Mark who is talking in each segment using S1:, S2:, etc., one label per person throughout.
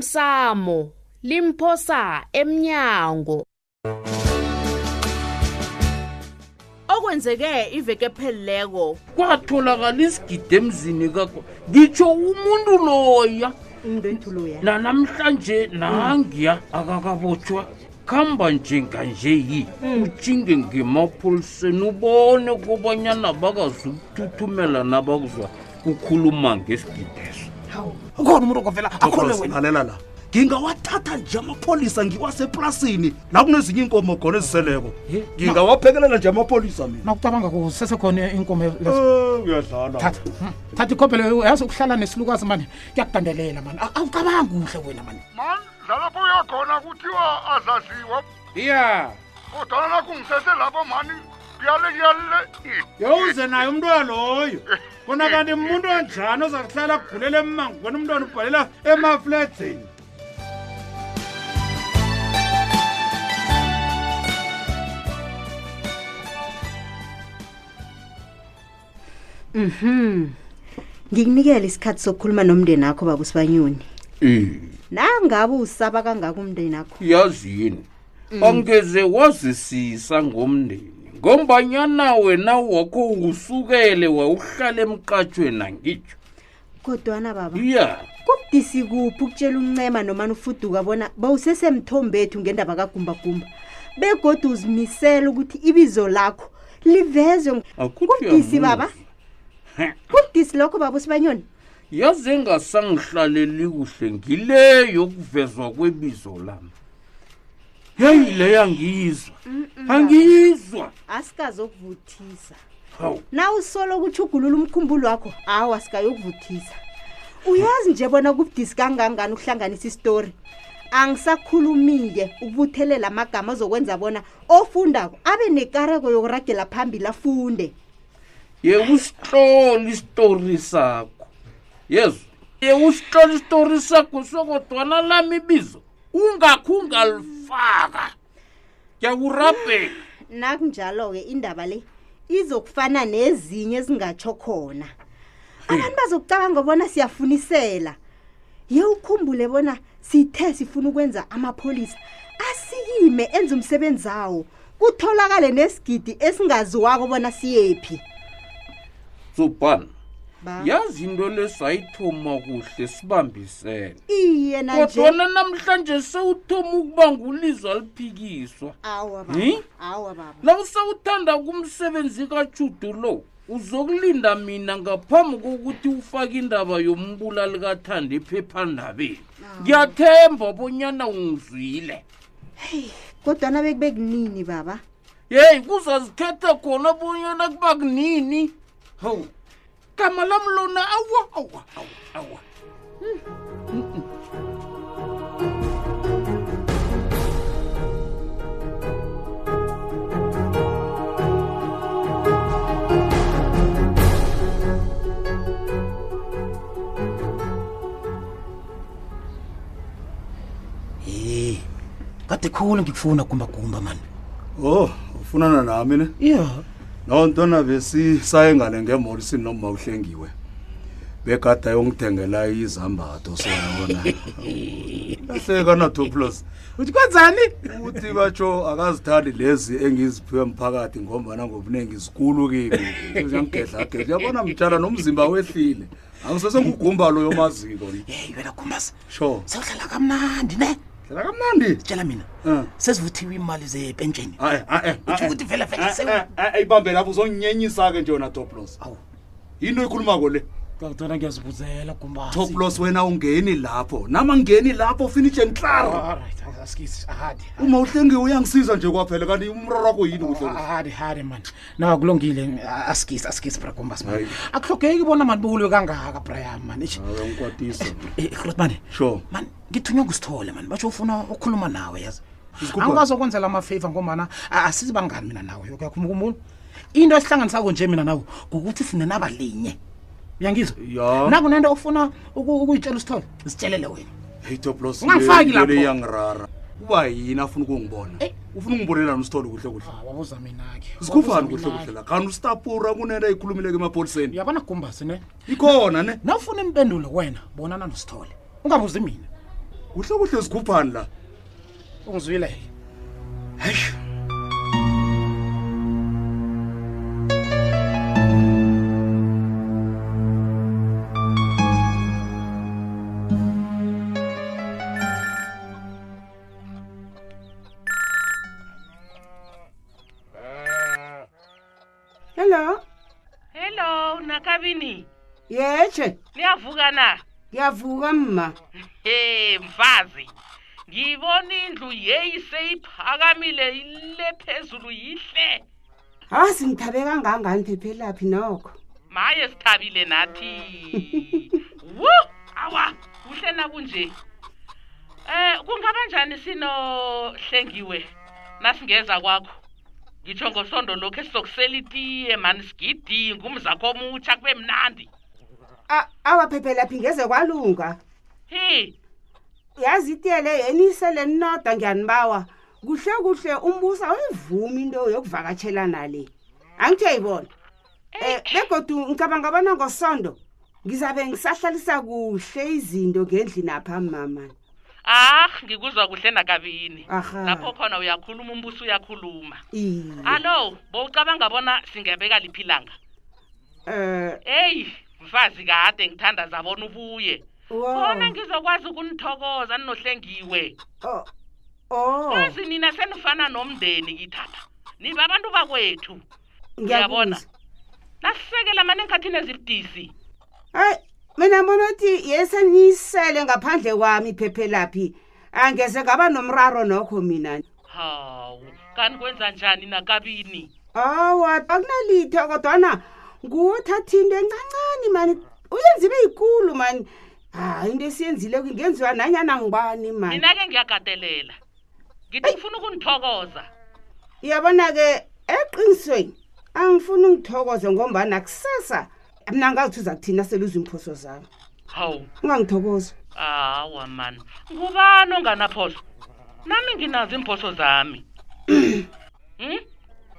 S1: osemsamo limphosa emnyango okwenzeke iveke pheleleko
S2: kwatholakala isigidi emzini kakho ngitsho umuntu loya
S3: umntu loya
S2: nanamhlanje nangiya akakabotshwa khamba njenganje yi utshinge ngemapoliseni ubone kobanyana bakazukuthuthumela nabakuzwa kukhuluma ngesigideso
S4: khona umuntu okavela akhole
S5: Douglas,
S4: wena
S5: lalela la ngingawathatha nje amapholisa ngiwaseplasini la kunezinye iinkomo khona eziseleko
S4: He,
S5: ngingawaphekelela nje amapholisa mina
S4: nakucabanga kusesekhona inkomo lezo
S5: Eh, uyadlala
S4: thatha thatha ikhobhelo yazi ukuhlala nesilukazi mani kuyakudandelela mani A- awucabanga kuhle wena mani
S6: mani lalapho uyakhona kuthiwa azaziwa
S7: iya
S6: kodwana nakungisese lapho mani kuyale kuyalile
S7: yowuze naye umntwana loyo kona kanti muntu onjani oza kuhlala kugulela emangweni umntwana ubhalela emafledzini
S3: ngikunikele isikhathi sokukhuluma nomndeni akho bakusibanyoni nangabe usaba kangaka umndeni akho
S2: yazi yini angeze wazisisa ngomndeni ngombanyana wena wakho usukele wawuhlala emqatshweni angitsho
S3: kodwana baba
S2: iya
S3: kubudisi kuphi ukutshela uncema nomani ufuduka bona bawusesemthombethu ngendaba kagumbagumba begodwa uzimisele ukuthi ibizo lakho livezwe
S2: akuthi
S3: kubudisi
S2: uyamuzwa.
S3: baba
S2: He.
S3: kubudisi lokho baba usibanyoni
S2: yaze engasangihlaleli kuhle ngile yokuvezwa kwebizo lami yeyi leyo angiyizwa angiyizwa
S3: asikazokuvuthisa
S2: hawu
S3: na usoloku utshugulula umkhumbulo wakho awu asikayokuvuthisa uyazi nje bona kubudisi kangangani ukuhlanganisa isitori angisakhulumi-ke ukubuthelela amagama azokwenza bona ofundako abe nekareko yokuragela phambili afunde
S2: ye usitlole isitori sakho yezo ye usitlole isitori sakho sokodwana lami ibizo ungakho ungalifaka ngiyakurabhela
S3: nakunjalo-ke indaba le izokufana nezinye ezingatsho khona abantu bazokucabanga bona siyafunisela ye ukhumbule bona sithe sifuna ukwenza amapholisa asikime enze umsebenzi awo kutholakale nesigidi esingaziwako bona siyephi
S2: zobhana
S3: Ba-
S2: yazi into lesayithoma kuhle sibambisene
S3: iye nanje
S2: kodwana namhlanje sewuthoma ukuba ngulizwa liphikiswa
S3: awa
S2: Hi?
S3: baba awa baba
S2: la usawuthanda kumsebenzi kajudu lo uzokulinda mina ngaphambi kokuthi ufake indaba yombula likathanda ephephandabeni ngiyathemba bonyana ungizwile
S3: kodwana bekube kunini baba
S2: yeyi kuzazikhetha khona bonyana kuba kunini hawu gama lam lona awa awa awa awa
S4: ye kade khulu ngikufuna gumbagumba mani
S5: o ufunana nami ne
S4: iya
S5: loo nto nabesisayengane ngemolisini noma uhlengiwe begada yongithengela izambatho sona lahleka natoplos
S4: uthi kwenzani
S5: uthi batsho akazithandi lezi engiziphiwe mphakathi ngombana ngobuningi zikulu kimi ziyangigedlagedla yabona mtshala nomzimba wehlile angisesengugumba loyo maziko
S4: yeyi wena gumbasi
S5: sure
S4: sewuhlala kamnandi ne
S5: dlala kamnandi
S4: tshela mina
S5: Eh.
S4: sezivuthiwe imali zepentsheni
S5: Ayi, ayi,
S4: Kutjho
S5: ayi.
S4: ukuthi vele vele
S5: Ayi,
S4: sewu-
S5: ayi, ayi, ayibambe eh, lapho uzonyenyisa-ke nje yona toplos
S4: Awu.
S5: yinto ikhuluma-ko le
S4: kodwana ngiyazibuzela gumbasi
S5: toplos wena ungeni lapho nama ngeni lapho finishe nhlaro
S4: alright asikisi ahadi
S5: uma uhlengiwe uyangisiza nje kwaphela kanti umroro wakho yini kuhle
S4: hadi hadi mani na kulungile a- asikisi asikisi bragombas mani
S5: Hayi.
S4: akuhlogeki bona mani bulwe kangaka brian mani Eish.
S5: uyangikwatisa
S4: Eh, eh, Groot mani
S5: sure
S4: mani ngithunywa ngusithole mani batsho ufuna ukukhuluma nawe yazi
S5: Isikhumbula.
S4: angikazokwenzela amafeva ngombana a- asizibangani mina nawe yokuyakhumbukhumbula into esihlanganisako nje mina nawe kukuthi sinenaba linye uyangizwa
S5: Ya.
S4: nakunento ofuna uku- ukuyitshela usithole zitshelele wena
S5: hey toplos
S4: Ungangifaki lapho. Eh?
S5: iyangirara uba yini afuna ukungibona ufuna ukungibonelani usithole kuhle kuhle
S4: wabuza mina-ke
S5: sikhufani kuhle kuhle la kanti usitapura kunento ayikhulumileko emapholiseni
S4: uyabona kugumbasi ne
S5: ikhona ne
S4: nawufuna impendulo wena bonana nosithole ungabuzi mina
S5: kuhle kuhle zikhuphani la
S8: ungizwile
S5: heyi
S9: hello
S10: hello nakabini
S9: yetshe
S10: niyavuka na
S9: ngiyavuka mma
S10: he mfazi ngibona indlu yeyi seyiphakamile ile phezulu yihle
S9: hazi ngithabe kangangani phephelaphi nokho
S10: maye sithabile nathi wu awa kuhle nakunje eh kungaba njani sinohlengiwe nasingeza kwakho ngitsho ngosondo lokhu esizokusela itiye mani sigidinge umzakho omutsha kube mnandi
S9: A- awa phephelaphi ngeze kwalunga
S10: hi
S9: yazi itiyele yenisele ninoda ngiyanibawa kuhle kuhle umbuso awuyivumi into yokuvakatshela nale angithi uyayibona um begodu ngicabanga bona ngosondo ngizabe ngisahlalisa kuhle izinto ngendlini apha mamani
S10: ah ngikuzwa kuhle nakabini
S9: Aha.
S10: lapho khona uyakhuluma umbuso uyakhuluma
S9: iye
S10: allo bowucabanga bona singebeka liphi ilanga
S9: um
S10: eyi mfazi kade ngithanda zabona ubuye khona ngizokwazi ukunithokoza ninohlengiwe
S2: Oh.
S9: o
S10: kazi nina senifana nomndeni kithatha niba abantu bakwethu ngiyabona.
S9: ngiyabona
S10: nasisekela mane engikhathini ezibudisi
S9: hayi mina bona uthi yeseniyisele ngaphandle kwami phephelaphi angeze ngaba nomraro nokho mina
S10: hawu kanti kwenza njani nakabini
S9: awa akunalitho kodwana nguthatha into encancane mani uyenza ibe yikulu mani hayi into esiyenzile kungenziwa nanyana ngibani mani
S10: mina-ke ngiyagadelela ngithi ngifuna ukunithokoza
S9: iyabona-ke eqinisweni angifuni ungithokoze ngombana kusasa mna ngazithi uza kuthina seluze imphoso zami
S10: hawu
S9: ungangithokoza
S10: hawa mani ngubani onganaphoso nami nginazo iimphoso zami Hmm?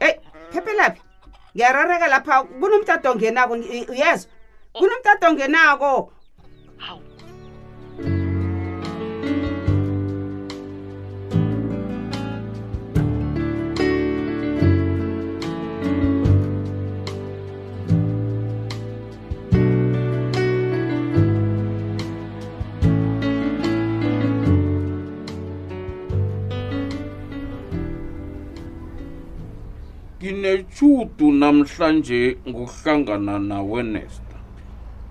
S9: eyi phephelaphi ngiyarareka lapha kunomtata ongenako ngi- uyezwa kunomtata ongenako
S10: hawu
S2: nginechudu namhlanje ngokuhlangana nawe nesta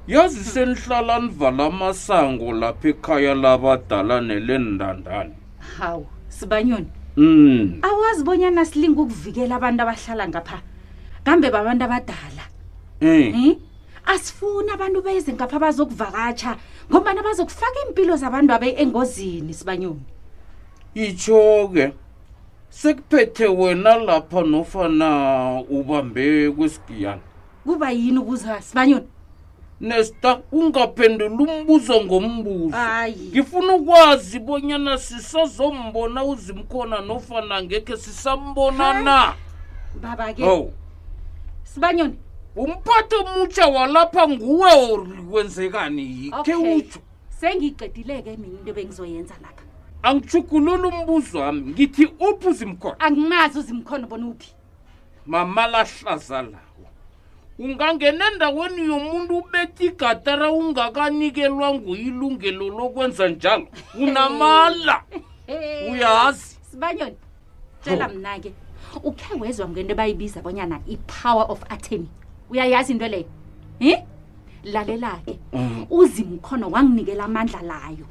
S2: yazi senihlala nivala amasango lapha ekhaya labadala nelendandane
S11: hawu sibanyoni
S2: mm.
S11: awazi bonyana silinga ukuvikela abantu abahlala ngapha kambe babantu abadala
S2: eh.
S11: um asifuni abantu beze ngapha bazokuvakatsha ngombana bazokufaka iimpilo zabantu abe engozini sibanyoni
S2: itsho-ke sekuphethe wena lapha nofana ubambe kwesigiyana
S11: kuba yini ukuza sibanyoni
S2: nesta ungaphendula umbuzo ngombuzo
S11: Ayi.
S2: ngifuna ukwazi bonyana sisazombona uzimkhona nofana ngekhe sisambona na
S11: baba-ke
S2: hawu
S11: sibanyoni
S2: umphathi omutsha walapha nguwe or kwenzekani yikhe
S11: Okay.
S2: utsho
S11: sengiyiqedile-ke mina into bengizoyenza lapha
S2: angijugulula umbuzo wami ngithi uphi uzimkhona
S11: angimazi uzimkhono bona uphi
S2: mama lahlaza lawo ungangena endaweni yomuntu ubetha igatara ungakanikelwa nguyilungelo lokwenza njalo unamala
S11: Eh,
S2: uyazi
S11: sibanyoni tshela mna-ke ukhe wezwa ngento bayibiza bonyana i-power of attorney uyayazi into leyo um lalela-ke uzimkhono wanginikela amandla layo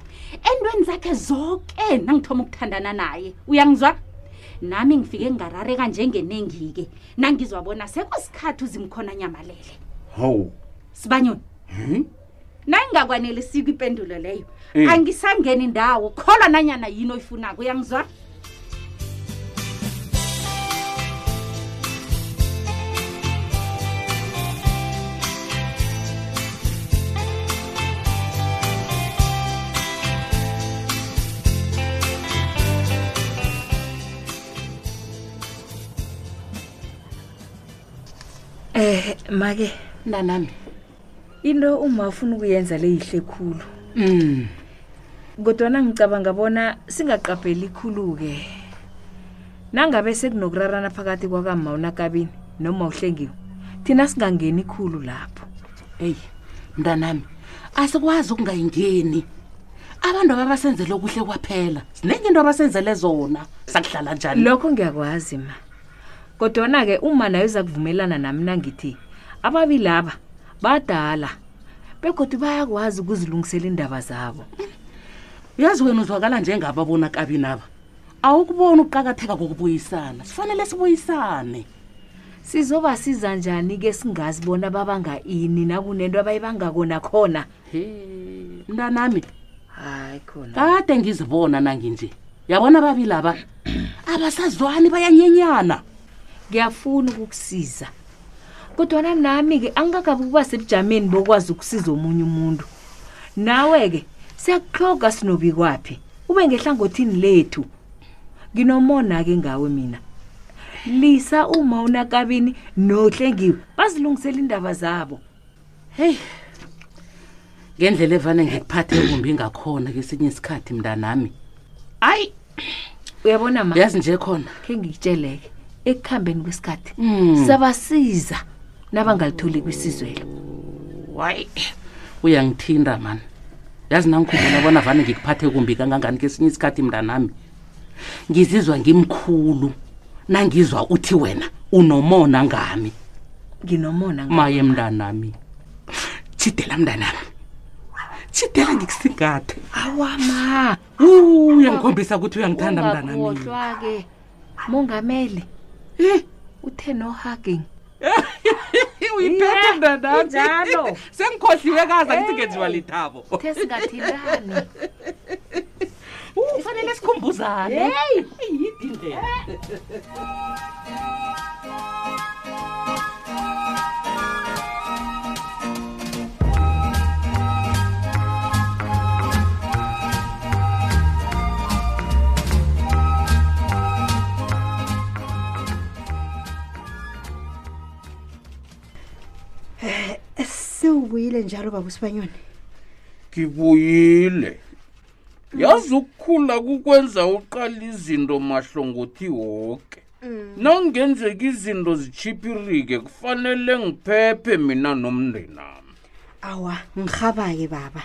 S11: entweni zakhe zonke nangithoma ukuthandana naye uyangizwa nami ngifike ngarareka njengenengi-ke nangizwabona sekusikhathi uzimkhona anyamalele
S2: hawu
S11: sibanyoni nayingakwanelisiko ipendulo leyo angisangeni ndawo kholwa nanyana yini oyifunako uyangizwa
S12: Eh make
S11: mntanami
S12: into uma ufuna ukuyenza leyihle khulu.
S11: Mm.
S12: kodwana ngicabanga bona singaqapheli khulu-ke nangabe sekunokurarana phakathi kwakamma unakabini noma uhlengiwe thina singangeni khulu lapho
S13: eyi mntanami asikwazi ukungayingeni abantu ababasenzele okuhle kwaphela zinenye into abasenzele zona sakuhlala njani
S12: lokho ngiyakwazi ma kodwana-ke uma nayo iza kuvumelana nami nangithi ababili aba badala begodwa bayakwazi ukuzilungisela iindaba zabo
S13: uyazi wena uzwakala njengabo abonakabini aba awukuboni ukuqakatheka kokubuyisana sifanele sibuyisane
S12: sizoba siza njani-ke singazi bona babanga ini nakunento abayibangakona khona
S13: mntanami
S12: hayi khona
S13: kade ngizibona nangi nje yabona babili aba abasazwani bayanyenyana
S12: ngiyafuna ukukusiza kodwana nami-ke angingakabi ukuba sebujameni bokwazi ukusiza omunye umuntu nawe-ke siyakuhloga sinobi kwaphi ube ngehlangothini lethu nginomona-ke ngawe mina lisa uma unakabini nohlengiwe bazilungisela iindaba zabo
S13: heyi ngendlela evane ngikuphathe kumbi ngakhona kesinye isikhathi mntanami hayi
S12: uyabona ma
S13: yazi nje khona
S12: khe ngikutsheleke ekuhambeni kwesikhathi
S1: Hmm.
S13: Mm.
S12: sabasiza nabangalitholi kwisizwelo
S13: hayi uyangithinda mani yazi nangikhumbula bona vane ngikuphathe kumbi kangangani kesinye isikhathi mntanami ngizizwa ngimkhulu nangizwa uthi wena unomona ngami
S12: nginomona
S13: maye mntanami tshidela mntanami tshidela ngikusingathe
S12: awama
S13: Wu, uyangikhombisa ukuthi uyangithanda mntanami
S12: ungakhohlwa-ke mongameli uthe no-hugging
S13: uyiphethe mntanami
S12: injalo.
S13: Eh, sengikhohliwe kaza ngithi ngenziwa lithabo
S12: the singathintani
S13: kufanele sikhumbuzane
S12: Hey!
S13: yidi indlela
S3: sewubuyile njalo baba usibanyoni
S2: ngibuyile yazi ukukhula kukwenza uqala izinto mahlongothi woke nangenzeka izinto zitshiphirike kufanele ngiphephe mina nomndenami
S3: awa ngirhaba-ke baba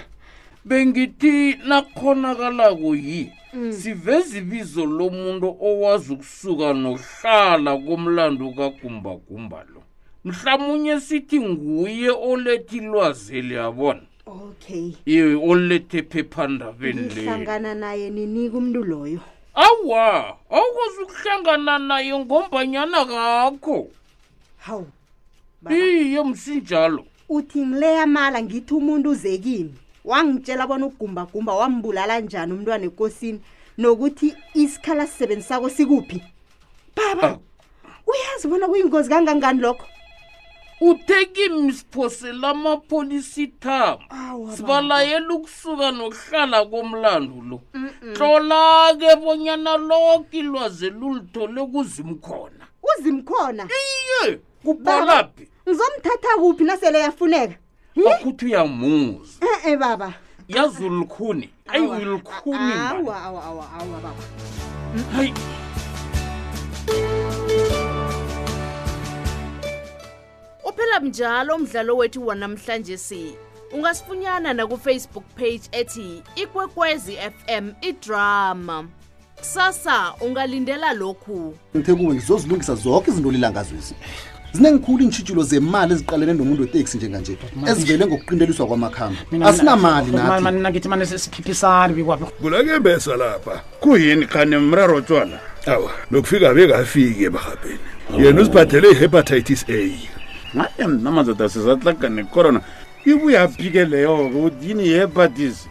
S2: bengithi nakhonakalako yi siveze ibizo lomuntu owazi ukusuka nokuhlala komlando kagumbagumba lo mhlawumunye sithi nguye olethi ilwazeli yabona
S3: okay
S2: iwe olethe ephephandabeni leli
S3: ngihlangana naye ninika umntu loyo
S2: awa awukwazi ukuhlangana naye ngombanyana kakho
S3: hawu Hmm.
S2: iye msinjalo
S3: uthi ngileya mala ngithi umuntu uzekini wangitshela bona ugumbagumba wambulala njani umntwana ekosini nokuthi isikhala sisebenzisako sikuphi baba uyazi bona kuyingozi kangangani lokho
S2: uthe kimi siphosela amapholisa ithama
S3: Awa,
S2: sibalayela ukusuka nokuhlala komlando lo tlola-ke bonyana loke ilwazi lulithole kuzimkhona
S3: uzimkhona
S2: iye kubhalaphi
S3: ngizomthatha kuphi nasele yafuneka
S2: akuthi uyamuza
S3: e-e baba
S2: yazi ulikhuni ayi ulikhuni man.
S3: awa awa awa awa baba
S2: hayi
S1: uphela njalo umdlalo wethu wanamhlanje si ungasifunyana nakufacebook page ethi ikwekwezi fm idrama kusasa ungalindela lokhu
S14: ngithe kuwe ngizozilungisa zonke izinto lilangazwezi zinengikhulu iintshitshilo zemali eziqalene nomuntu weteksi njenganje ezivele ngokuqindeliswa kwamakhambi asinamali nathi
S4: mina ngithi mane siphiphisani bikwaphi
S6: kulake mbesa lapha kuyini khane mraro tshwana awa lokufika bekafiki ebarhabheni yena uzibhathele i-hepatitis a
S7: hayi mna madoda sizatlagane corona ibuya phike leyo-ke uthini yebatisi